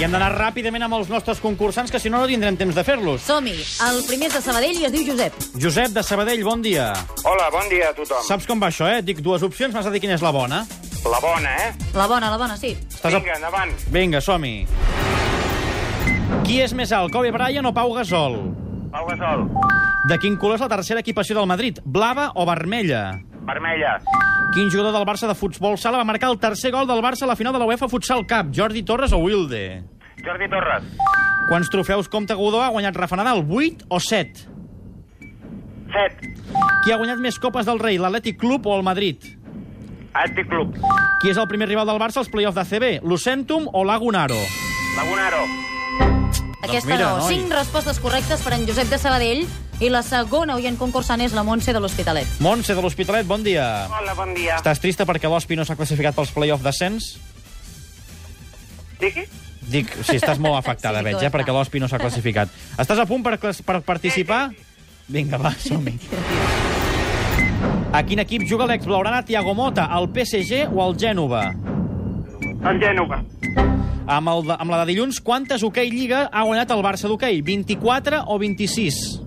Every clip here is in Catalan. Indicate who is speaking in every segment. Speaker 1: I hem d'anar ràpidament amb els nostres concursants, que si no, no tindrem temps de fer-los.
Speaker 2: Som-hi. El primer és de Sabadell i es diu Josep.
Speaker 1: Josep de Sabadell, bon dia.
Speaker 3: Hola, bon dia a tothom.
Speaker 1: Saps com va això, eh? Et Dic dues opcions, m'has de dir quina és la bona.
Speaker 3: La bona, eh?
Speaker 2: La bona, la bona, sí.
Speaker 1: Estàs
Speaker 3: Vinga, endavant.
Speaker 1: A... Vinga, som-hi. Qui és més alt, Kobe Bryant o Pau Gasol?
Speaker 3: Pau Gasol.
Speaker 1: De quin color és la tercera equipació del Madrid, blava o vermella?
Speaker 3: Vermella.
Speaker 1: Quin jugador del Barça de futbol sala va marcar el tercer gol del Barça a la final de la UEFA Futsal Cup, Jordi Torres o Wilde?
Speaker 3: Jordi Torres.
Speaker 1: Quants trofeus Comte Godó ha guanyat Rafa Nadal, 8 o 7?
Speaker 3: Set.
Speaker 1: Qui ha guanyat més copes del rei, l'Atlètic Club o el Madrid?
Speaker 3: Atlètic Club.
Speaker 1: Qui és el primer rival del Barça als play-offs d'ACB, l'Ucentum o l'Agunaro?
Speaker 3: Lagunaro.
Speaker 2: Aquesta
Speaker 1: mira,
Speaker 2: no.
Speaker 1: noi.
Speaker 2: Cinc respostes correctes per en Josep de Sabadell i la segona oient concursant és la Montse de l'Hospitalet.
Speaker 1: Montse de l'Hospitalet, bon dia.
Speaker 3: Hola, bon dia.
Speaker 1: Estàs trista perquè l'Hospi no s'ha classificat pels play-offs d'ascens?
Speaker 3: Digui?
Speaker 1: Dic, si sí, estàs molt afectada,
Speaker 2: Sí,
Speaker 1: veig,
Speaker 2: ho
Speaker 1: eh,
Speaker 2: està.
Speaker 1: perquè l'Hospi no s'ha classificat. Estàs a punt per, clas- per participar? Vinga, va, som -hi. A quin equip juga l'ex-blaurana Tiago Mota, al PSG o al Gènova?
Speaker 3: El Gènova.
Speaker 1: Amb, el de, amb la de dilluns, quantes hoquei Lliga ha guanyat el Barça d'hoquei? 24 o 26?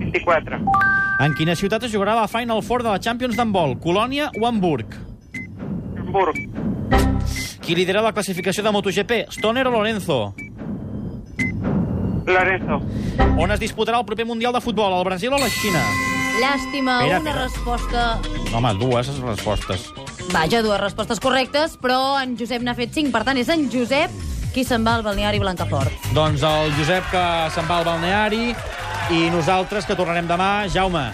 Speaker 3: 24.
Speaker 1: En quina ciutat es jugarà la Final Four de la Champions d'handbol? Colònia o Hamburg?
Speaker 3: Hamburg.
Speaker 1: Qui lidera la classificació de MotoGP? Stoner o Lorenzo?
Speaker 3: Lorenzo.
Speaker 1: On es disputarà el proper Mundial de Futbol, al Brasil o la Xina?
Speaker 2: Llàstima,
Speaker 1: Espera,
Speaker 2: una
Speaker 1: espera.
Speaker 2: resposta...
Speaker 1: Home, dues respostes.
Speaker 2: Vaja, dues respostes correctes, però en Josep n'ha fet cinc. Per tant, és en Josep qui se'n va al balneari Blancafort.
Speaker 1: Doncs el Josep que se'n va al balneari i nosaltres que tornarem demà. Jaume,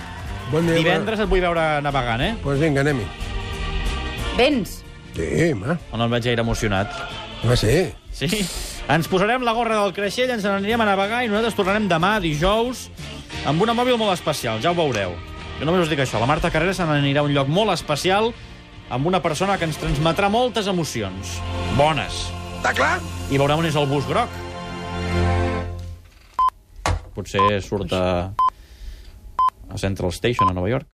Speaker 4: Bon dia,
Speaker 1: divendres et vull veure navegant, eh?
Speaker 4: Pues vinga, anem-hi.
Speaker 2: Vens?
Speaker 4: Sí, home.
Speaker 1: No em veig gaire emocionat.
Speaker 4: Home, sí.
Speaker 1: Sí? Ens posarem la gorra del creixell, ens n'anirem a navegar i nosaltres tornarem demà, dijous, amb una mòbil molt especial, ja ho veureu. Jo només us dic això, la Marta Carrera se n'anirà a un lloc molt especial amb una persona que ens transmetrà moltes emocions. Bones.
Speaker 4: Està clar?
Speaker 1: I veurem on és el bus groc. Potser surt a, a Central Station, a Nova York.